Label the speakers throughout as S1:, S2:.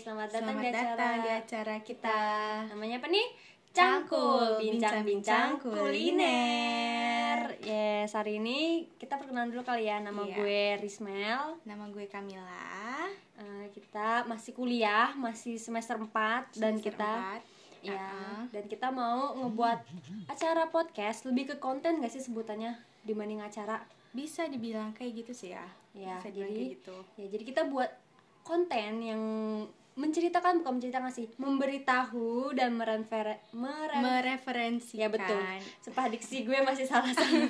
S1: Selamat datang
S2: Selamat
S1: di acara
S2: datang di acara kita.
S1: Namanya apa nih? Cangkul,
S2: Cangkul,
S1: bincang-bincang
S2: bincang-bincang
S1: kuliner. Yes, hari ini kita perkenalan dulu kali ya. Nama
S2: Iya.
S1: gue Rismel.
S2: Nama gue Kamila.
S1: Eh, kita masih kuliah, masih semester 4 dan
S2: Semester
S1: kita
S2: empat.
S1: ya,
S2: Uh-uh.
S1: dan kita mau ngebuat acara podcast lebih ke konten gak sih sebutannya dibanding acara?
S2: Bisa dibilang kayak gitu sih ya.
S1: Ya,
S2: Bisa dibilang
S1: jadi-
S2: kayak gitu.
S1: Ya, jadi kita buat konten yang menceritakan bukan menceritakan sih, memberitahu dan merenfer meren-
S2: Mereferensikan.
S1: Ya betul. Sumpah diksi gue masih salah sama.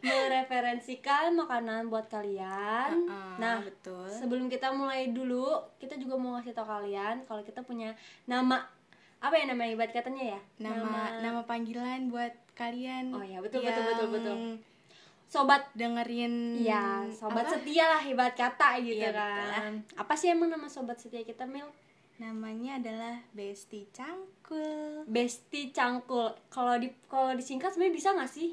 S1: Mereferensikan makanan buat kalian.
S2: Uh-uh,
S1: nah,
S2: betul.
S1: sebelum kita mulai dulu, kita juga mau ngasih tau kalian kalau kita punya nama apa ya namanya ibarat katanya ya?
S2: Nama nama panggilan buat kalian.
S1: Oh ya, betul, betul, betul, betul.
S2: yang
S1: sobat
S2: Dengerin
S1: Iya, sobat
S2: Hmm, apa?
S1: setia lah ibarat kata gitu
S2: Iya, betul lah.
S1: kan. Apa sih emang nama sobat setia kita, Mil?
S2: Namanya adalah Besti Cangkul.
S1: Besti Cangkul. Kalau di kalau disingkat sebenarnya bisa nggak sih?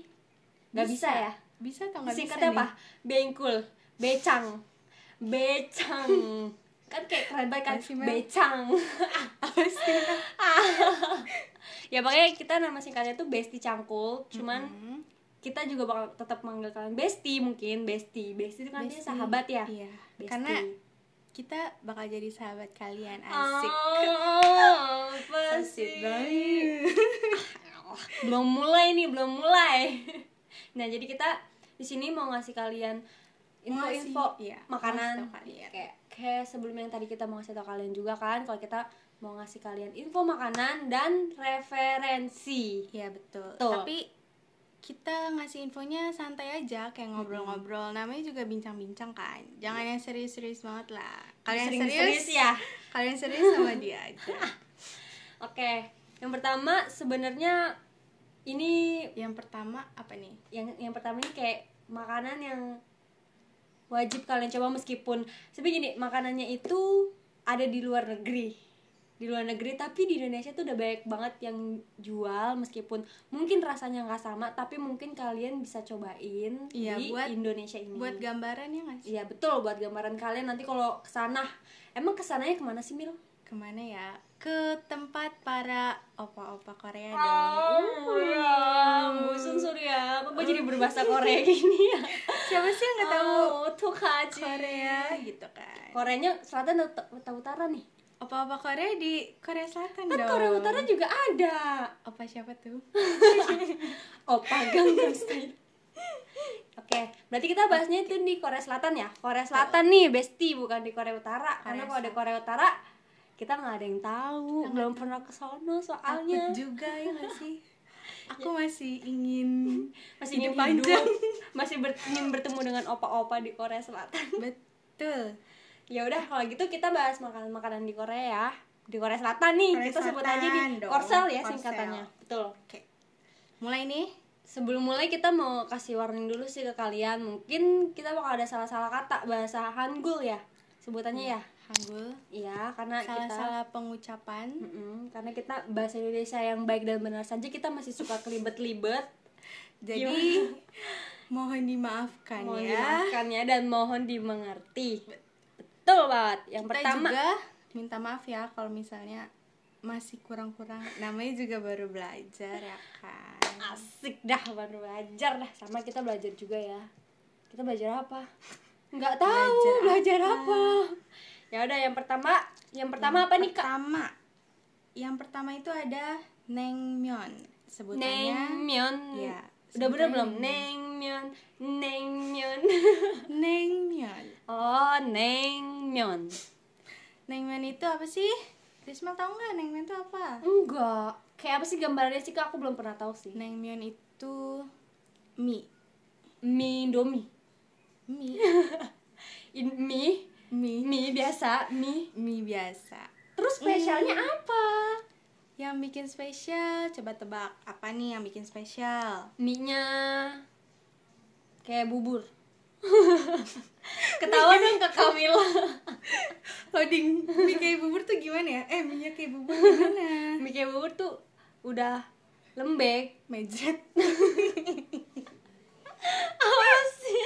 S1: Nggak bisa. ya?
S2: Bisa atau nggak bisa?
S1: Singkatnya
S2: nih?
S1: apa? Bengkul, becang, becang. kan kayak keren banget kan
S2: Apa sih, Mel?
S1: becang.
S2: Apa sih?
S1: ya makanya kita nama singkatnya tuh Besti Cangkul. Cuman
S2: Hmm.
S1: kita juga bakal tetap manggil kalian Besti mungkin Besti. Besti itu kan dia
S2: Besti.
S1: sahabat ya.
S2: Iya.
S1: Besti.
S2: Karena kita bakal jadi sahabat kalian asik.
S1: Oh, apa
S2: Asik
S1: sih?
S2: banget.
S1: belum mulai nih belum mulai nah jadi kita di sini mau ngasih kalian info-info
S2: Ngasih, iya,
S1: makanan
S2: ngasih tau kalian.
S1: kayak kayak sebelum yang tadi kita mau ngasih tau kalian juga kan kalau kita mau ngasih kalian info makanan dan referensi
S2: Iya betul.
S1: Betul.
S2: Tapi kita ngasih infonya santai aja kayak ngobrol-ngobrol. Namanya juga bincang-bincang kan. Jangan yang serius-serius banget lah. Kalian
S1: Iya. Sering
S2: serius,
S1: ya
S2: Kalian serius sama dia aja.
S1: oke yang pertama sebenarnya ini
S2: Yang pertama apa nih?
S1: yang yang pertama ini kayak makanan yang wajib kalian coba meskipun tapi gini makanannya itu ada di luar negeri di luar negeri tapi di Indonesia tuh udah banyak banget yang jual meskipun mungkin rasanya nggak sama tapi mungkin kalian bisa cobain
S2: Iya,
S1: di
S2: buat-
S1: Indonesia ini
S2: Buat gambaran ya nggak sih?
S1: iya betul buat gambaran kalian nanti kalau kesana emang kesananya kemana sih Mil?
S2: Kemana ya? Ke tempat para opa-opa Korea dong.
S1: Oh, ya, Busun Surya, kok gue jadi berbahasa Korea gini ya?
S2: Siapa sih yang nggak tahu
S1: Oh, tuh kaji.
S2: Korea gitu kan?
S1: Koreanya selatan atau atau utara nih?
S2: Opa-opa Korea di Korea Selatan
S1: Kan
S2: dong.
S1: Korea utara juga ada. Oh,
S2: Opa siapa tuh?
S1: Opa Gangnam Style. Oke, berarti kita bahasnya itu di Korea Selatan ya? Korea Selatan nih, Besti, bukan di Korea Utara. Karena
S2: Korea
S1: kalau di Korea Utara, kita nggak ada yang tahu, belum pernah ke sono soalnya.
S2: Takut juga ya nggak sih? Aku masih ingin
S1: Masih ingin
S2: hidup panjang.
S1: hidup, masih ber- ingin bertemu dengan opa-opa di Korea Selatan.
S2: Betul.
S1: Ya udah, kalau gitu kita bahas makanan-makanan di Korea ya. Di Korea Selatan nih,
S2: Korea
S1: kita sebut aja di
S2: Selatan dong,
S1: Korsel ya
S2: Korsel.
S1: singkatannya. Betul.
S2: Oke. Mulai nih.
S1: sebelum mulai kita mau kasih warning dulu sih ke kalian mungkin kita bakal ada salah-salah kata bahasa Hangul ya sebutannya ya
S2: Hanggul.
S1: iya
S2: Nah,
S1: karena kita
S2: Salah-salah pengucapan.
S1: Mm-mm, karena kita bahasa Indonesia yang baik dan benar saja kita masih suka kelibet-libet
S2: Jadi mohon dimaafkan
S1: mohon
S2: ya.
S1: dimaafkannya dan mohon dimengerti betul banget yang
S2: Kita
S1: pertama
S2: juga minta maaf ya kalau misalnya masih kurang-kurang. Namanya juga baru belajar ya kan.
S1: asik dah baru belajar dah sama kita belajar juga ya kita belajar apa nggak tahu belajar, apa ya udah yang pertama yang pertama apa nih kak
S2: Pertama. Yang pertama itu ada Nengmyeon. Sebutannya
S1: Nengmyeon.
S2: Iya,
S1: Udah bener
S2: sebutannya
S1: belum? Nengmyeon, Nengmyeon.
S2: Nengmyeon.
S1: oh, Nengmyeon.
S2: Nengmen itu apa sih? Risma tahu nggak Nengmen itu apa?
S1: Enggak. Kayak apa sih gambarannya sih? Kak? Aku belum pernah tahu sih.
S2: Nengmyeon itu mie.
S1: Mie Indomie.
S2: Mie.
S1: In, mie,
S2: Mie.
S1: mie biasa, mie.
S2: Mie biasa.
S1: Terus spesialnya apa?
S2: Yang bikin spesial, coba tebak. Apa nih yang bikin spesial?
S1: Mie-nya kayak bubur. Ketawa dong ke Kamila.
S2: Loading mie kayak bubur tuh gimana ya? Eh, mie kayak bubur gimana?
S1: Mie kayak bubur tuh udah lembek,
S2: Mejet.
S1: apa sih?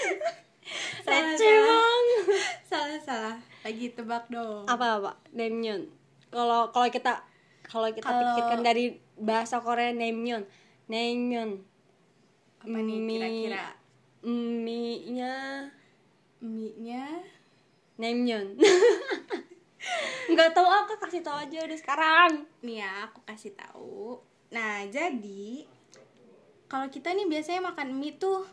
S2: Salah,
S1: Receh
S2: salah.
S1: banget.
S2: Salah, salah. Lagi tebak dong.
S1: Apa apa? Nameon. kalau kalau kita kalau kita
S2: Kalau-
S1: pikirkan dari bahasa Korea naemyeon naemyeon
S2: apa nih
S1: Mie.
S2: kira-kira
S1: mie-nya
S2: mie-nya
S1: naemyeon nggak tahu aku kasih tahu aja udah sekarang
S2: nih ya aku kasih tahu nah jadi kalau kita nih biasanya makan mie tuh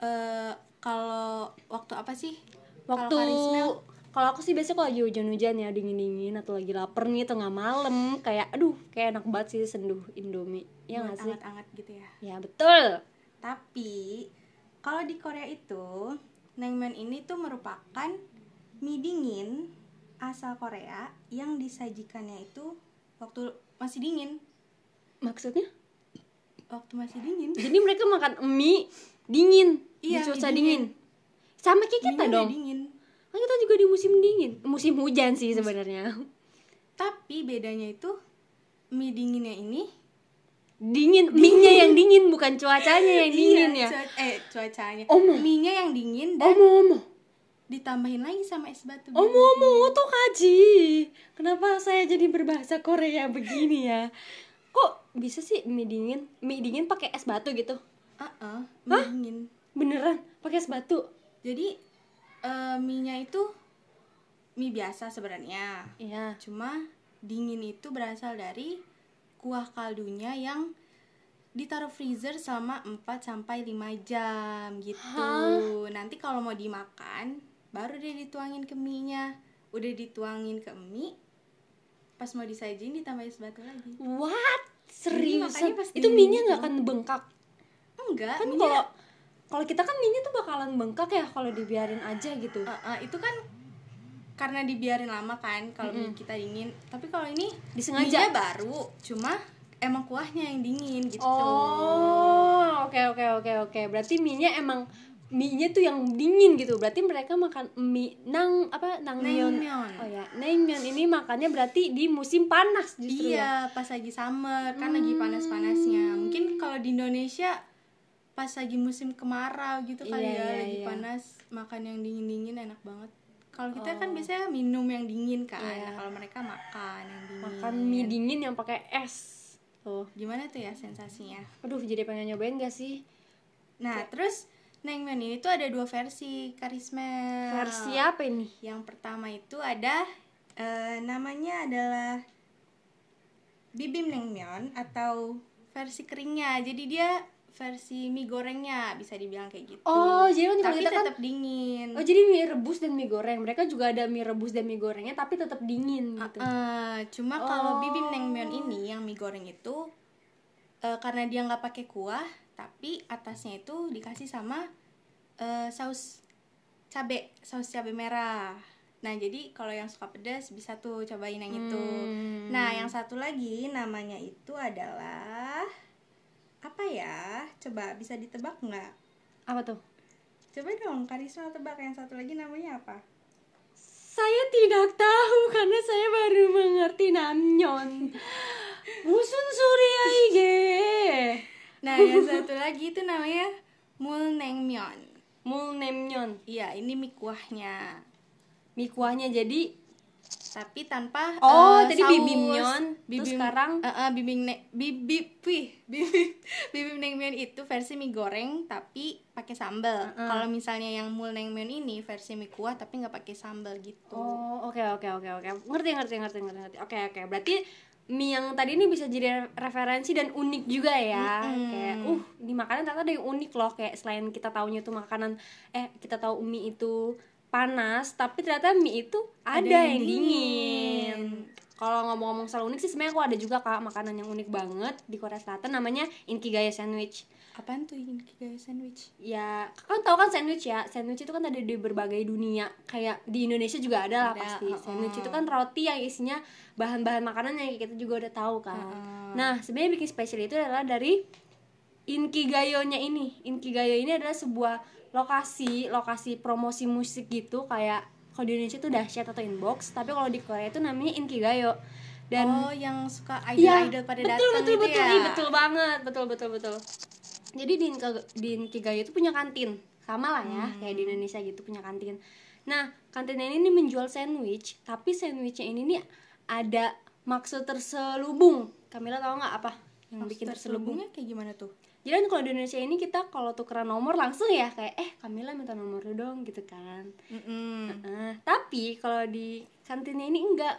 S2: eh kalau waktu apa sih Kalau
S1: waktu
S2: Karisma,
S1: kalau aku sih biasanya kalau lagi hujan-hujan ya dingin-dingin atau lagi lapar nih tengah malam kayak aduh kayak enak banget sih senduh indomie ya nggak sih
S2: anget-anget gitu ya
S1: ya betul
S2: Tapi kalau di Korea itu naengmyeon ini tuh merupakan mie dingin asal Korea yang disajikannya itu waktu masih dingin,
S1: maksudnya
S2: waktu masih dingin.
S1: jadi mereka makan mie dingin di
S2: Iya,
S1: cuaca
S2: mie
S1: dingin. sama kayak kita
S2: Mie-nya udah
S1: dong
S2: dingin.
S1: kan kita juga di musim dingin musim hujan sih sebenarnya
S2: Tapi bedanya itu mie dinginnya ini
S1: dingin mie-nya yang dingin bukan cuacanya yang dingin ya
S2: Iya,
S1: Oh,
S2: cua- eh cuacanya.
S1: Omo.
S2: Mie-nya yang dingin dan
S1: omo omo
S2: ditambahin lagi sama es batu.
S1: Omo omo tuh kaji. Kenapa saya jadi berbahasa Korea begini ya? Kok bisa sih mie dingin? Mie dingin pakai es batu gitu?
S2: Heeh, mie dingin.
S1: Beneran pakai es batu?
S2: Jadi eh, mie-nya itu mie biasa sebenarnya.
S1: Iya.
S2: Cuma dingin itu berasal dari kuah kaldunya yang ditaruh freezer selama 4 sampai 5 jam gitu.
S1: Hah?
S2: Nanti kalau mau dimakan baru deh dituangin ke mie-nya. Udah dituangin ke mie pas mau disajin ditambahin sebatu lagi.
S1: What?
S2: Jadi makanya
S1: Seriusan?
S2: pas
S1: Itu
S2: dingin
S1: mie-nya
S2: gitu.
S1: nggak akan bengkak?
S2: Enggak, iya.
S1: Kan
S2: mie-nya-
S1: kalau kalau kita kan mie-nya tuh bakalan bengkak ya kalau dibiarin aja gitu.
S2: Eh, eh, itu kan karena dibiarin lama kan kalau mie kita dingin. Tapi kalau ini
S1: Disengaja.
S2: mie-nya baru, cuma emang kuahnya yang dingin gitu.
S1: Oh, oke oke oke oke. Berarti mie-nya emang mie-nya tuh yang dingin gitu. Berarti mereka makan mie nang apa nangmyeon.
S2: Naengmyeon.
S1: Oh ya, naengmyeon ini makannya berarti di musim panas justru ya. Hmm.
S2: Iya, pas lagi summer, kan lagi panas-panasnya. Mungkin kalau di Indonesia pas lagi musim kemarau gitu kali
S1: Iya,
S2: ya,
S1: iya,
S2: lagi
S1: iya.
S2: panas, makan yang dingin-dingin enak banget. Kalau kita kan biasanya minum yang dingin kan.
S1: Oh. Iya.
S2: Nah, kalau mereka makan yang dingin.
S1: Makan mie dingin yang pakai es. Tuh.
S2: Gimana tuh ya sensasinya?
S1: Aduh, jadi pengen nyobain gak sih?
S2: Nah, terus naengmyeon ini tuh ada dua versi karisma.
S1: Versi apa ini?
S2: Yang pertama itu ada eh, namanya adalah bibim naengmyeon atau versi keringnya. Jadi dia versi mie gorengnya bisa dibilang kayak gitu.
S1: Oh, jadi kan kalau
S2: tapi
S1: kita kan
S2: tetap dingin.
S1: Oh, jadi mie rebus dan mie goreng. Mereka juga ada mie rebus dan mie gorengnya tapi tetap dingin gitu.
S2: Eh, cuma
S1: Oh.
S2: kalau bibim naengmyeon ini yang mie goreng itu eh, karena dia nggak pakai kuah, tapi atasnya itu dikasih sama eh, saus cabe, saus cabe merah. Nah, jadi kalau yang suka pedas bisa tuh cobain yang itu.
S1: Hmm.
S2: Nah, yang satu lagi namanya itu adalah apa ya? Coba bisa ditebak nggak?
S1: Apa tuh?
S2: Coba dong, Karisma tebak yang satu lagi namanya apa?
S1: Saya tidak tahu karena saya baru mengerti namnyon. Musun Surya Ige.
S2: Nah, yang satu lagi itu namanya mul naengmyeon.
S1: Mul namnyon.
S2: Iya, ini mie kuahnya.
S1: Mie kuahnya jadi
S2: Tapi tanpa
S1: Oh,
S2: eh,
S1: tadi
S2: saus.
S1: bibimnyeon, terus sekarang?
S2: Eh, eh, bibim ne, bibib wih, bibib bibim naengmyeon itu versi mie goreng tapi pakai sambal. Kalau misalnya yang mul naengmyeon ini versi mie kuah tapi nggak pakai sambal gitu.
S1: Oh, oke oke oke oke. Ngerti ngerti ngerti ngerti ngerti. Oke oke. Berarti mie yang tadi ini bisa jadi re- referensi dan unik juga ya. Kayak uh, di makanan ternyata ada yang unik loh kayak selain kita taunya itu makanan eh kita tahu mie itu panas, tapi ternyata mie itu ada, yang,
S2: yang
S1: dingin.
S2: dingin.
S1: Kalau ngomong-ngomong soal unik sih sebenarnya aku ada juga Kak makanan yang unik banget di Korea Selatan namanya Inkigaya sandwich.
S2: Apaan tuh inkigaya sandwich?
S1: Ya, kan tau kan sandwich ya. Sandwich itu kan ada di berbagai dunia. Kayak di Indonesia juga ada lah
S2: Ada,
S1: pasti.
S2: heeh.
S1: Sandwich itu kan roti yang isinya bahan-bahan makanan yang kita juga udah tahu kan. Nah, sebenarnya bikin spesial itu adalah dari Inkigayo-nya ini. Inkigayo ini adalah sebuah lokasi, lokasi promosi musik gitu kayak kalau di Indonesia itu dahsyat atau inbox, tapi kalau di Korea itu namanya Inkigayo. Dan
S2: oh, yang suka
S1: Iya,
S2: idol-idol pada
S1: betul,
S2: datang
S1: betul,
S2: gitu
S1: betul,
S2: ya.
S1: Ih, betul banget, betul, betul, betul. Jadi di, Inka- di Inkigayo itu punya kantin, sama lah ya, kayak di Indonesia gitu punya kantin. Nah, kantinnya ini nih menjual sandwich, tapi sandwichnya ini nih ada maksud terselubung Kamila tahu nggak apa yang
S2: Maksud
S1: bikin terselubung
S2: terselubungnya kayak gimana tuh?
S1: jadi kan kalau di Indonesia ini kita kalau tukeran nomor langsung ya kayak eh Kamila minta nomor lu dong gitu kan
S2: Mm-mm.
S1: Heeh. Eh, tapi kalau di kantinnya ini enggak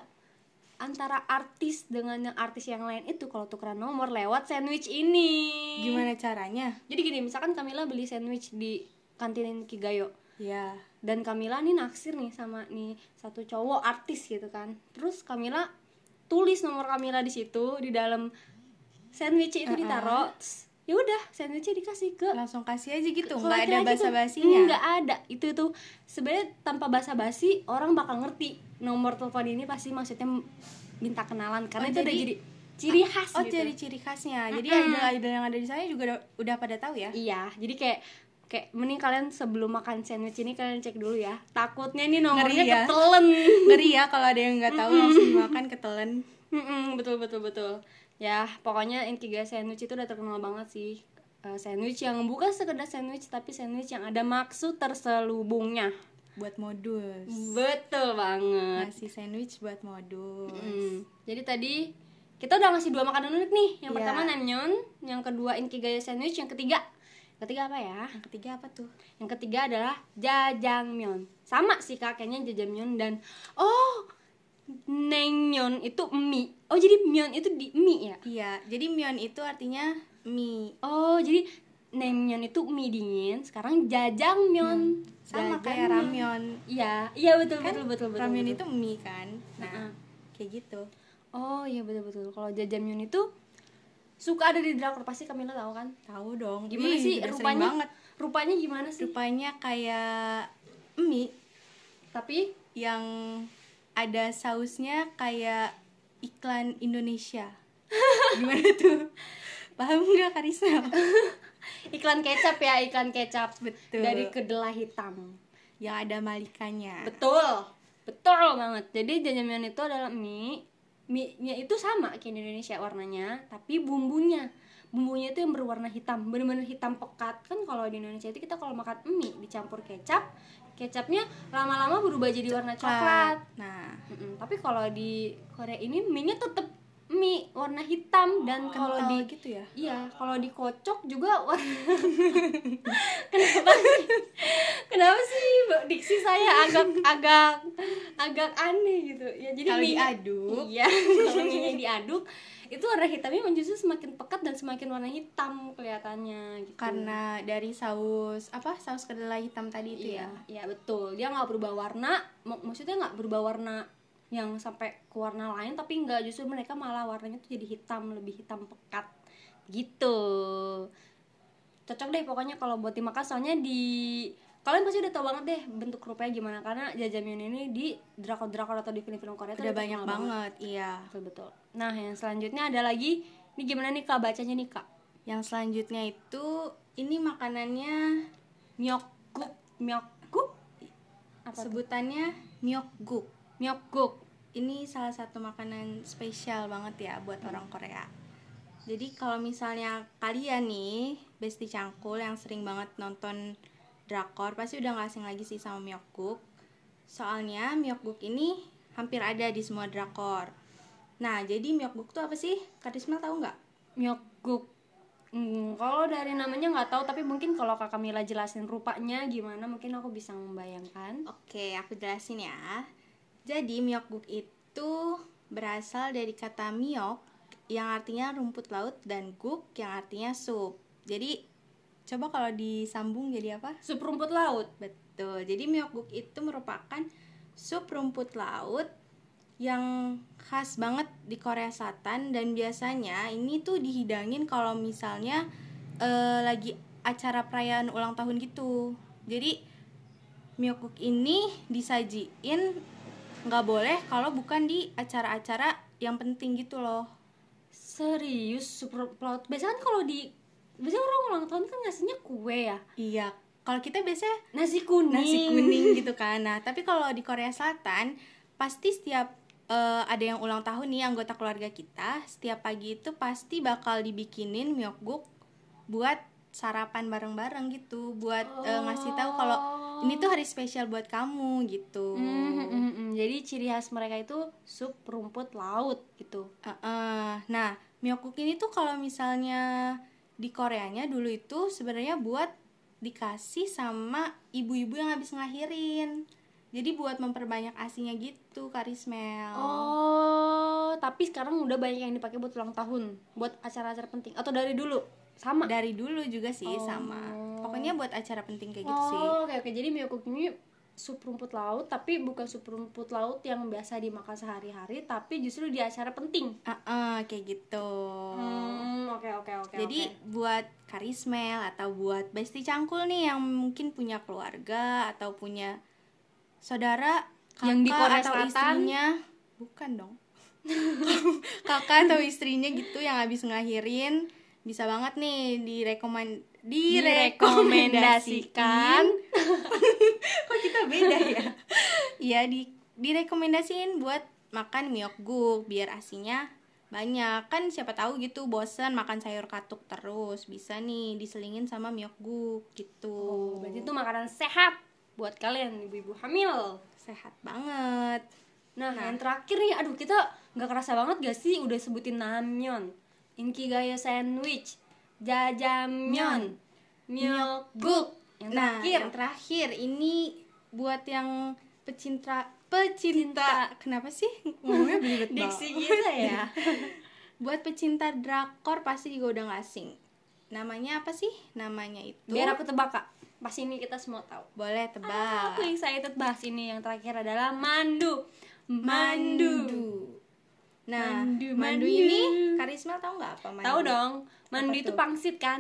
S1: antara artis dengan yang artis yang lain itu kalau tukeran nomor lewat sandwich ini
S2: Gimana caranya?
S1: jadi gini misalkan Kamila beli sandwich di kantin Kigayo
S2: Ya,
S1: dan Kamila nih naksir nih sama nih satu cowok artis gitu kan terus Kamila tulis nomor Kamila di situ di dalam sandwich itu ditaruh Terus ya udah sandwichnya dikasih ke
S2: langsung kasih aja gitu,
S1: ke
S2: nggak ada
S1: laki-laki tuh.
S2: basa-basinya.
S1: nggak ada itu tuh sebenarnya tanpa basa-basi orang bakal ngerti nomor telepon ini pasti maksudnya minta kenalan karena
S2: Oh,
S1: itu udah
S2: jadi-
S1: jadi ciri khas
S2: Oh,
S1: gitu
S2: jadi ciri khasnya. Jadi
S1: Mm-mm.
S2: idol-idol yang ada di sana juga udah, udah pada tahu ya.
S1: iya jadi kayak kayak mending kalian sebelum makan sandwich ini kalian cek dulu ya takutnya ini nomornya
S2: Ngeri ya.
S1: ketelen
S2: Ngeri ya kalau ada yang nggak tahu langsung makan ketelan.
S1: Mm-mm, betul betul betul ya pokoknya Inkiga sandwich itu udah terkenal banget sih Eh, sandwich yang bukan sekedar sandwich tapi sandwich yang ada maksud terselubungnya
S2: buat modus.
S1: betul banget
S2: Ngasih sandwich buat modus.
S1: Mm. Jadi tadi kita udah ngasih dua makanan unik nih. Yang
S2: Iya.
S1: pertama namnyeon, yang kedua inkigaya sandwich, yang ketiga yang ketiga apa ya?
S2: Yang ketiga apa tuh?
S1: Yang ketiga adalah jajangmyeon. Sama sih kakeknya jajangmyeon dan oh naengmyeon itu mie. Oh jadi myeon itu di mie ya?
S2: Iya, jadi myeon itu artinya mie.
S1: Oh jadi naengmyeon itu mie dingin. Sekarang jajangmyeon
S2: Sama
S1: Jajangmyeon.
S2: kayak Hmm. ramyeon.
S1: Iya, iya betul,
S2: Kan
S1: betul betul betul.
S2: ramyeon
S1: betul.
S2: itu mie kan. Nah,
S1: Heeh.
S2: kayak gitu.
S1: Oh iya betul betul. Kalau jajangmyeon itu suka ada di drakor pasti Kamila tahu kan?
S2: Tahu dong.
S1: gimana
S2: Ih,
S1: sih
S2: udah sering
S1: rupanya
S2: banget.
S1: rupanya gimana sih
S2: Rupanya kayak mie
S1: tapi
S2: yang ada sausnya kayak iklan Indonesia. Gimana tuh? Paham nggak Karisa?
S1: iklan kecap ya iklan kecap
S2: Betul.
S1: dari kedelai hitam
S2: yang ada malikannya.
S1: betul betul banget jadi jajanan itu adalah mie mie nya itu sama kayak di Indonesia warnanya tapi bumbunya bumbunya itu yang berwarna hitam bener-bener hitam pekat kan kalau di Indonesia itu kita kalau makan mie dicampur kecap kecapnya lama-lama berubah jadi warna coklat
S2: Nah,
S1: Mm-mm, tapi kalau di Korea ini mie nya tetap mie warna hitam dan kalau
S2: kental
S1: di
S2: gitu ya.
S1: Iya, kalau dikocok juga warna. kenapa sih? Kenapa sih Mbak diksi saya agak agak agak aneh gitu. Ya jadi
S2: Kalau
S1: mie-
S2: diaduk.
S1: Iya, kalau mie diaduk itu warna hitamnya emang justru semakin pekat dan semakin warna hitam kelihatannya gitu.
S2: karena dari saus apa saus kedelai hitam tadi itu
S1: iya,
S2: ya
S1: iya betul. Dia nggak berubah warna, mak- maksudnya nggak berubah warna yang sampai ke warna lain tapi nggak justru mereka malah warnanya tuh jadi hitam, lebih hitam pekat gitu. Cocok deh pokoknya kalau buat dimakan soalnya di kalian pasti udah tau banget deh bentuk kerupuknya gimana karena jajamyeon ini di drakor-drakor atau di film-film Korea tuh
S2: udah
S1: terkenal
S2: banyak banget iya
S1: Betul betul. Nah, yang selanjutnya ada lagi ini gimana nih Kak bacanya nih Kak?
S2: yang selanjutnya itu ini makanannya
S1: Myokguk, myokguk, Apa tuh?
S2: sebutannya myokguk
S1: myokguk.
S2: ini salah satu makanan spesial banget ya buat orang Korea jadi kalau misalnya kalian nih besti cangkul yang sering banget nonton drakor pasti udah nggak asing lagi sih sama myokguk soalnya myokguk ini hampir ada di semua drakor nah jadi myokguk tuh apa sih Karisma tahu nggak
S1: Myokguk. Hmm, kalau dari namanya nggak tahu tapi mungkin kalau Kak Kamila jelasin rupanya gimana mungkin aku bisa membayangkan.
S2: Oke, aku jelasin ya. Jadi myokguk itu berasal dari kata myok yang artinya rumput laut dan guk yang artinya sup. Jadi coba kalau disambung jadi apa?
S1: Sup rumput laut.
S2: Betul. Jadi myokguk itu merupakan sup rumput laut yang khas banget di Korea Selatan dan biasanya ini tuh dihidangin kalau misalnya eh, lagi acara perayaan ulang tahun gitu. Jadi myokguk ini disajiin nggak boleh kalau bukan di acara-acara yang penting gitu loh.
S1: Serius sup rumput laut. Biasanya kan kalau di biasanya orang ulang tahun kan ngasihnya kue ya.
S2: Iya. Kalau kita biasanya
S1: Nasi kuning.
S2: nasi kuning gitu kan. Nah, tapi kalau di Korea Selatan pasti setiap eh, ada yang ulang tahun nih anggota keluarga kita, setiap pagi itu pasti bakal dibikinin myokguk buat sarapan bareng-bareng gitu, buat eh, ngasih tahu kalau ini tuh hari spesial buat kamu gitu
S1: Oh. Hmm, hmm, hmm, hmm. Jadi ciri khas mereka itu sup rumput laut gitu.
S2: Heeh. nah myeokguk ini tuh kalau misalnya di Koreanya dulu itu sebenarnya buat dikasih sama ibu-ibu yang habis ngelahirin jadi buat memperbanyak asinya gitu karismel
S1: Oh, tapi sekarang udah banyak yang dipakai buat ulang tahun, buat acara-acara penting atau dari dulu sama.
S2: dari dulu juga sih sama pokoknya buat acara penting kayak gitu sih
S1: Oh, oke oke. Jadi myeokguk ini sup rumput laut tapi bukan sup rumput laut yang biasa dimakan sehari-hari tapi justru di acara penting.
S2: Heeh, kayak gitu
S1: Hmm, oke oke oke.
S2: Jadi
S1: oke.
S2: buat karismel atau buat besti cangkul nih yang mungkin punya keluarga atau punya saudara kakak
S1: Yang di Korea
S2: atau
S1: Selatan?
S2: istrinya bukan dong kakak atau istrinya gitu yang habis ngelahirin bisa banget nih direkomen
S1: Direkomendasikan.
S2: direkomendasikan kok kita beda ya Iya di direkomendasiin buat makan myeokguk biar asinya banyak kan siapa tahu gitu bosen makan sayur katuk terus bisa nih diselingin sama myeokguk
S1: Oh,
S2: gitu
S1: berarti itu makanan sehat buat kalian ibu-ibu hamil.
S2: sehat banget
S1: Nah, yang terakhir nih, aduh kita nggak kerasa banget gak sih udah sebutin Namnyeon, Inkigayo Sandwich, Jajangmyeon, Myeokguk. Yang
S2: nah
S1: terakhir,
S2: yang terakhir ini buat yang pecinta pecinta kenapa sih ngomongnya belibet banget.
S1: diksi kita ya.
S2: buat pecinta drakor pasti juga udah nggak asing namanya apa sih namanya itu
S1: Biar Ah, aku tebak kak, pas ini kita semua tahu.
S2: boleh tebak
S1: Aku excited bahas ini yang terakhir adalah mandu, mandu.
S2: Mandu. Nah,
S1: Mandu, mandu.
S2: mandu, ini Karisma tahu nggak apa mandu?
S1: Tahu dong, mandu
S2: Apa
S1: itu
S2: tuh?
S1: pangsit kan?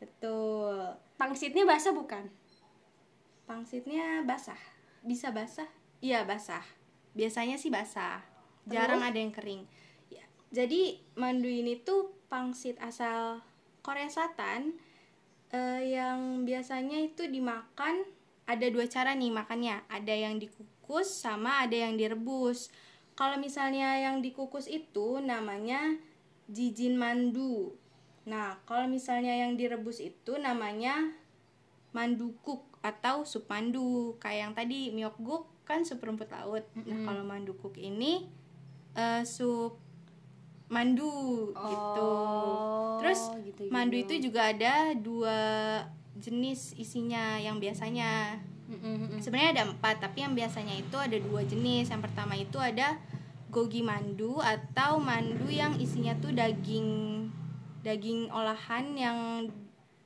S2: Betul.
S1: Pangsitnya bahasa bukan?
S2: Pangsitnya basah. Bisa basah? Iya, basah. Biasanya sih basah. Jarang ada yang kering. Ya, Jadi, mandu ini tuh pangsit asal Korea Selatan eh, yang biasanya itu dimakan ada dua cara nih makannya. Ada yang dikukus sama ada yang direbus. Kalau misalnya yang dikukus itu namanya jijin mandu. Nah, kalau misalnya yang direbus itu namanya mandukuk atau sup mandu kayak yang tadi myeokguk kan sup rumput laut nah kalau mandukuk ini eh, sup mandu gitu
S1: Oh,
S2: terus
S1: gitu-gitu.
S2: mandu itu juga ada dua jenis isinya yang biasanya sebenarnya ada empat tapi yang biasanya itu ada dua jenis yang pertama itu ada gogi mandu atau mandu yang isinya tuh daging daging olahan yang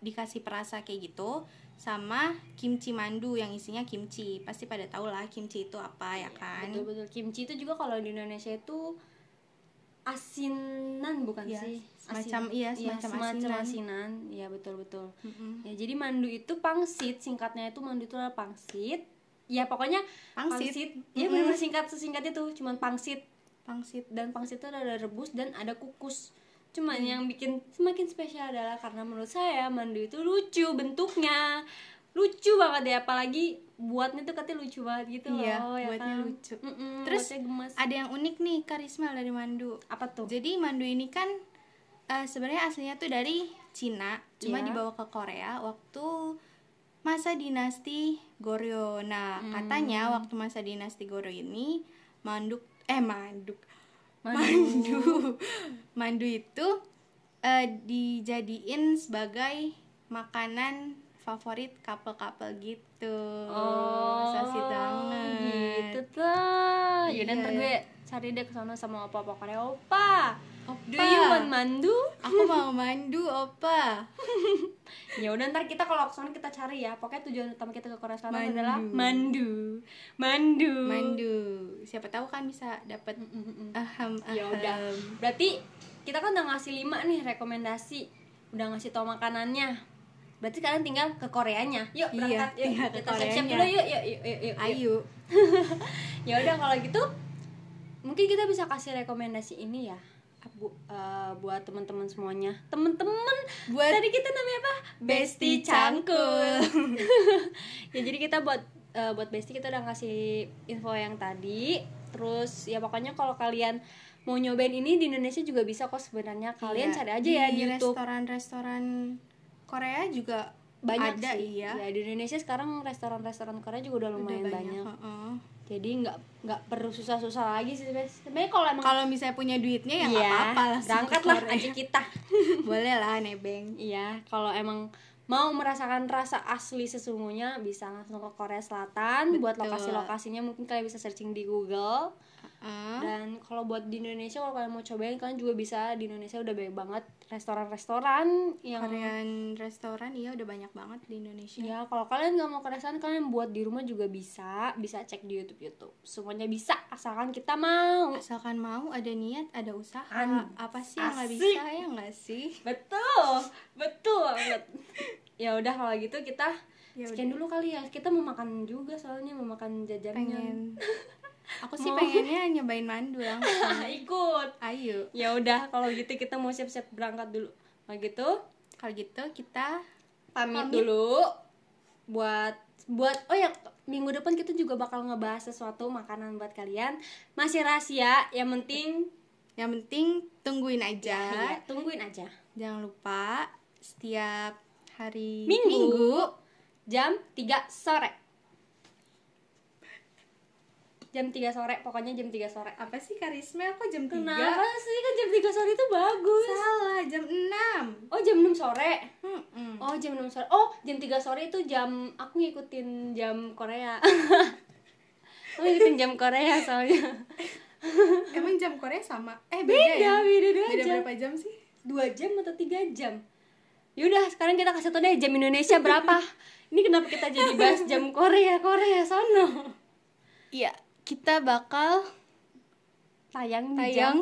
S2: dikasih perasa kayak gitu sama kimchi mandu yang isinya kimchi pasti pada tau lah kimchi itu apa ya kan
S1: Betul-betul. Kimchi itu juga kalau di Indonesia itu asinan bukan
S2: Iya,
S1: sih?
S2: semacam-
S1: Asin-
S2: iya, semacam asinan.
S1: asinan. Iya, betul-betul. Ya, jadi mandu itu pangsit, singkatnya itu mandu itu adalah pangsit. Ya pokoknya
S2: Pangsit.
S1: Iya benar singkat sesingkat itu cuman pangsit
S2: pangsit
S1: dan pangsit itu ada rebus dan ada kukus. Cuman yang bikin semakin spesial adalah karena menurut saya mandu itu lucu bentuknya. Lucu banget ya apalagi buatnya tuh katanya lucu banget gitu
S2: Iya,
S1: loh ya
S2: buatnya
S1: kan?
S2: lucu.
S1: Mm-mm,
S2: Terus
S1: buatnya gemes.
S2: ada yang unik nih karisma dari mandu
S1: apa tuh?
S2: Jadi mandu ini kan eh, sebenarnya aslinya tuh dari Cina, cuma
S1: Iya.
S2: dibawa ke Korea waktu masa dinasti Goryeo. Nah,
S1: Hmm.
S2: katanya waktu masa dinasti Goryeo ini manduk eh manduk mandu mandu itu eh, dijadiin sebagai makanan favorit couple-couple gitu. Sosis banget.
S1: Oh, gitu tuh. Ya dan
S2: Iya.
S1: ntar gue cari deh ke sono sama opa-opa Korea. Opa,
S2: Opa.
S1: do you want mandu?
S2: Aku mau mandu, Opa.
S1: ya udah ntar kita kalau ke sono kita cari ya. Pokoknya tujuan utama kita ke Korea Selatan
S2: Mandu.
S1: adalah mandu. Mandu.
S2: Mandu. Siapa tahu kan bisa dapat aham aham.
S1: Ya udah. Berarti kita kan udah ngasih lima nih rekomendasi. Udah ngasih tau makanannya. Berarti kalian tinggal ke Koreanya. Yuk
S2: Iya,
S1: berangkat yuk.
S2: tinggal ke
S1: Kita siap-siap
S2: Koreanya.
S1: dulu yuk yuk yuk yuk. yuk.
S2: Ayu.
S1: ya udah kalau gitu mungkin kita bisa kasih rekomendasi ini ya Bu- eh, buat teman-teman semuanya teman-teman
S2: Buat-
S1: tadi kita namanya apa
S2: Besti Cangkul.
S1: ya jadi kita buat eh, buat Besti kita udah kasih info yang tadi terus ya pokoknya kalau kalian mau nyobain ini di Indonesia juga bisa kok sebenarnya kalian ya
S2: Iya,
S1: cari aja ya di, YouTube
S2: restoran-restoran Korea juga
S1: banyak
S2: Ada,
S1: sih
S2: iya.
S1: ya di Indonesia sekarang restoran-restoran Korea juga udah lumayan
S2: Udah
S1: banyak,
S2: heeh.
S1: jadi nggak nggak perlu susah-susah lagi sih sebenarnya sebenarnya kalau emang
S2: Kalau misalnya punya duitnya ya nggak
S1: Iya,
S2: apa-apa lah.
S1: berangkat lah aja kita
S2: Boleh lah nebeng.
S1: Iya, kalau emang mau merasakan rasa asli sesungguhnya bisa langsung ke Korea Selatan. Buat
S2: Betul.
S1: lokasi-lokasinya mungkin kalian bisa searching di Google.
S2: Heeh.
S1: Dan kalau buat di Indonesia kalau kalian mau cobain kalian juga bisa di Indonesia udah banyak banget restoran-restoran yang
S2: Korean restoran iya udah banyak banget di Indonesia.
S1: Ya, kalau kalian nggak mau ke restoran kalian buat di rumah juga bisa, bisa cek di YouTube YouTube. Semuanya bisa asalkan kita mau.
S2: Asalkan mau ada niat, ada usaha.
S1: An-
S2: Apa sih yang nggak
S1: asik.
S2: bisa ya nggak sih?
S1: Betul, betul banget. ya udah kalau gitu kita
S2: Ya
S1: sekian dulu kali ya. Kita mau makan juga soalnya mau makan jajannya.
S2: Pengen. Aku sih pengennya nyobain mandu langsung.
S1: Hah, Ikut.
S2: Ayo.
S1: Ya udah kalau gitu kita mau siap-siap berangkat dulu. Nah gitu
S2: Kalau gitu kita
S1: pamit,
S2: Pamit.
S1: dulu buat buat oh ya minggu depan kita juga bakal ngebahas sesuatu makanan buat kalian masih rahasia yang penting
S2: yang penting tungguin aja.
S1: ya, tungguin aja
S2: Jangan lupa setiap hari
S1: minggu, jam 3 sore jam 3 sore pokoknya jam 3 sore
S2: apa sih karisma kok jam 3?
S1: kenapa sih kan jam 3 sore itu bagus
S2: Salah, jam 6.
S1: oh jam 6 sore
S2: Hmm.
S1: Oh jam 6 sore. Oh jam 3 sore itu jam aku ngikutin jam Korea. aku ngikutin jam Korea soalnya.
S2: Emang jam Korea sama? Eh, beda, ya?
S1: Beda, beda dua
S2: Beda
S1: jam.
S2: berapa jam sih?
S1: Dua jam atau tiga jam? Yaudah sekarang kita kasih tau deh jam Indonesia berapa. Ini kenapa kita jadi bahas jam Korea Korea sono?
S2: Iya, kita bakal
S1: Tayang di jam.
S2: tayang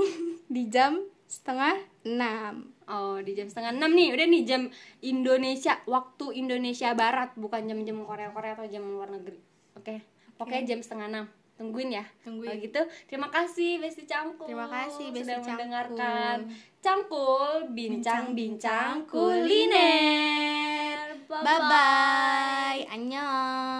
S2: di jam setengah 6.
S1: Oh di jam setengah enam nih. Udah nih jam Indonesia waktu Indonesia Barat bukan jam jam Korea Korea atau jam luar negeri. Oke. Pokoknya jam setengah enam. Tungguin ya.
S2: Tungguin.
S1: Kalau gitu, terima kasih Besti Cangkul.
S2: Terima kasih, Besti
S1: sudah
S2: Cangkul.
S1: mendengarkan Cangkul bincang-bincang
S2: Bincang-bincang
S1: kuliner.
S2: Bye bye. Annyeong.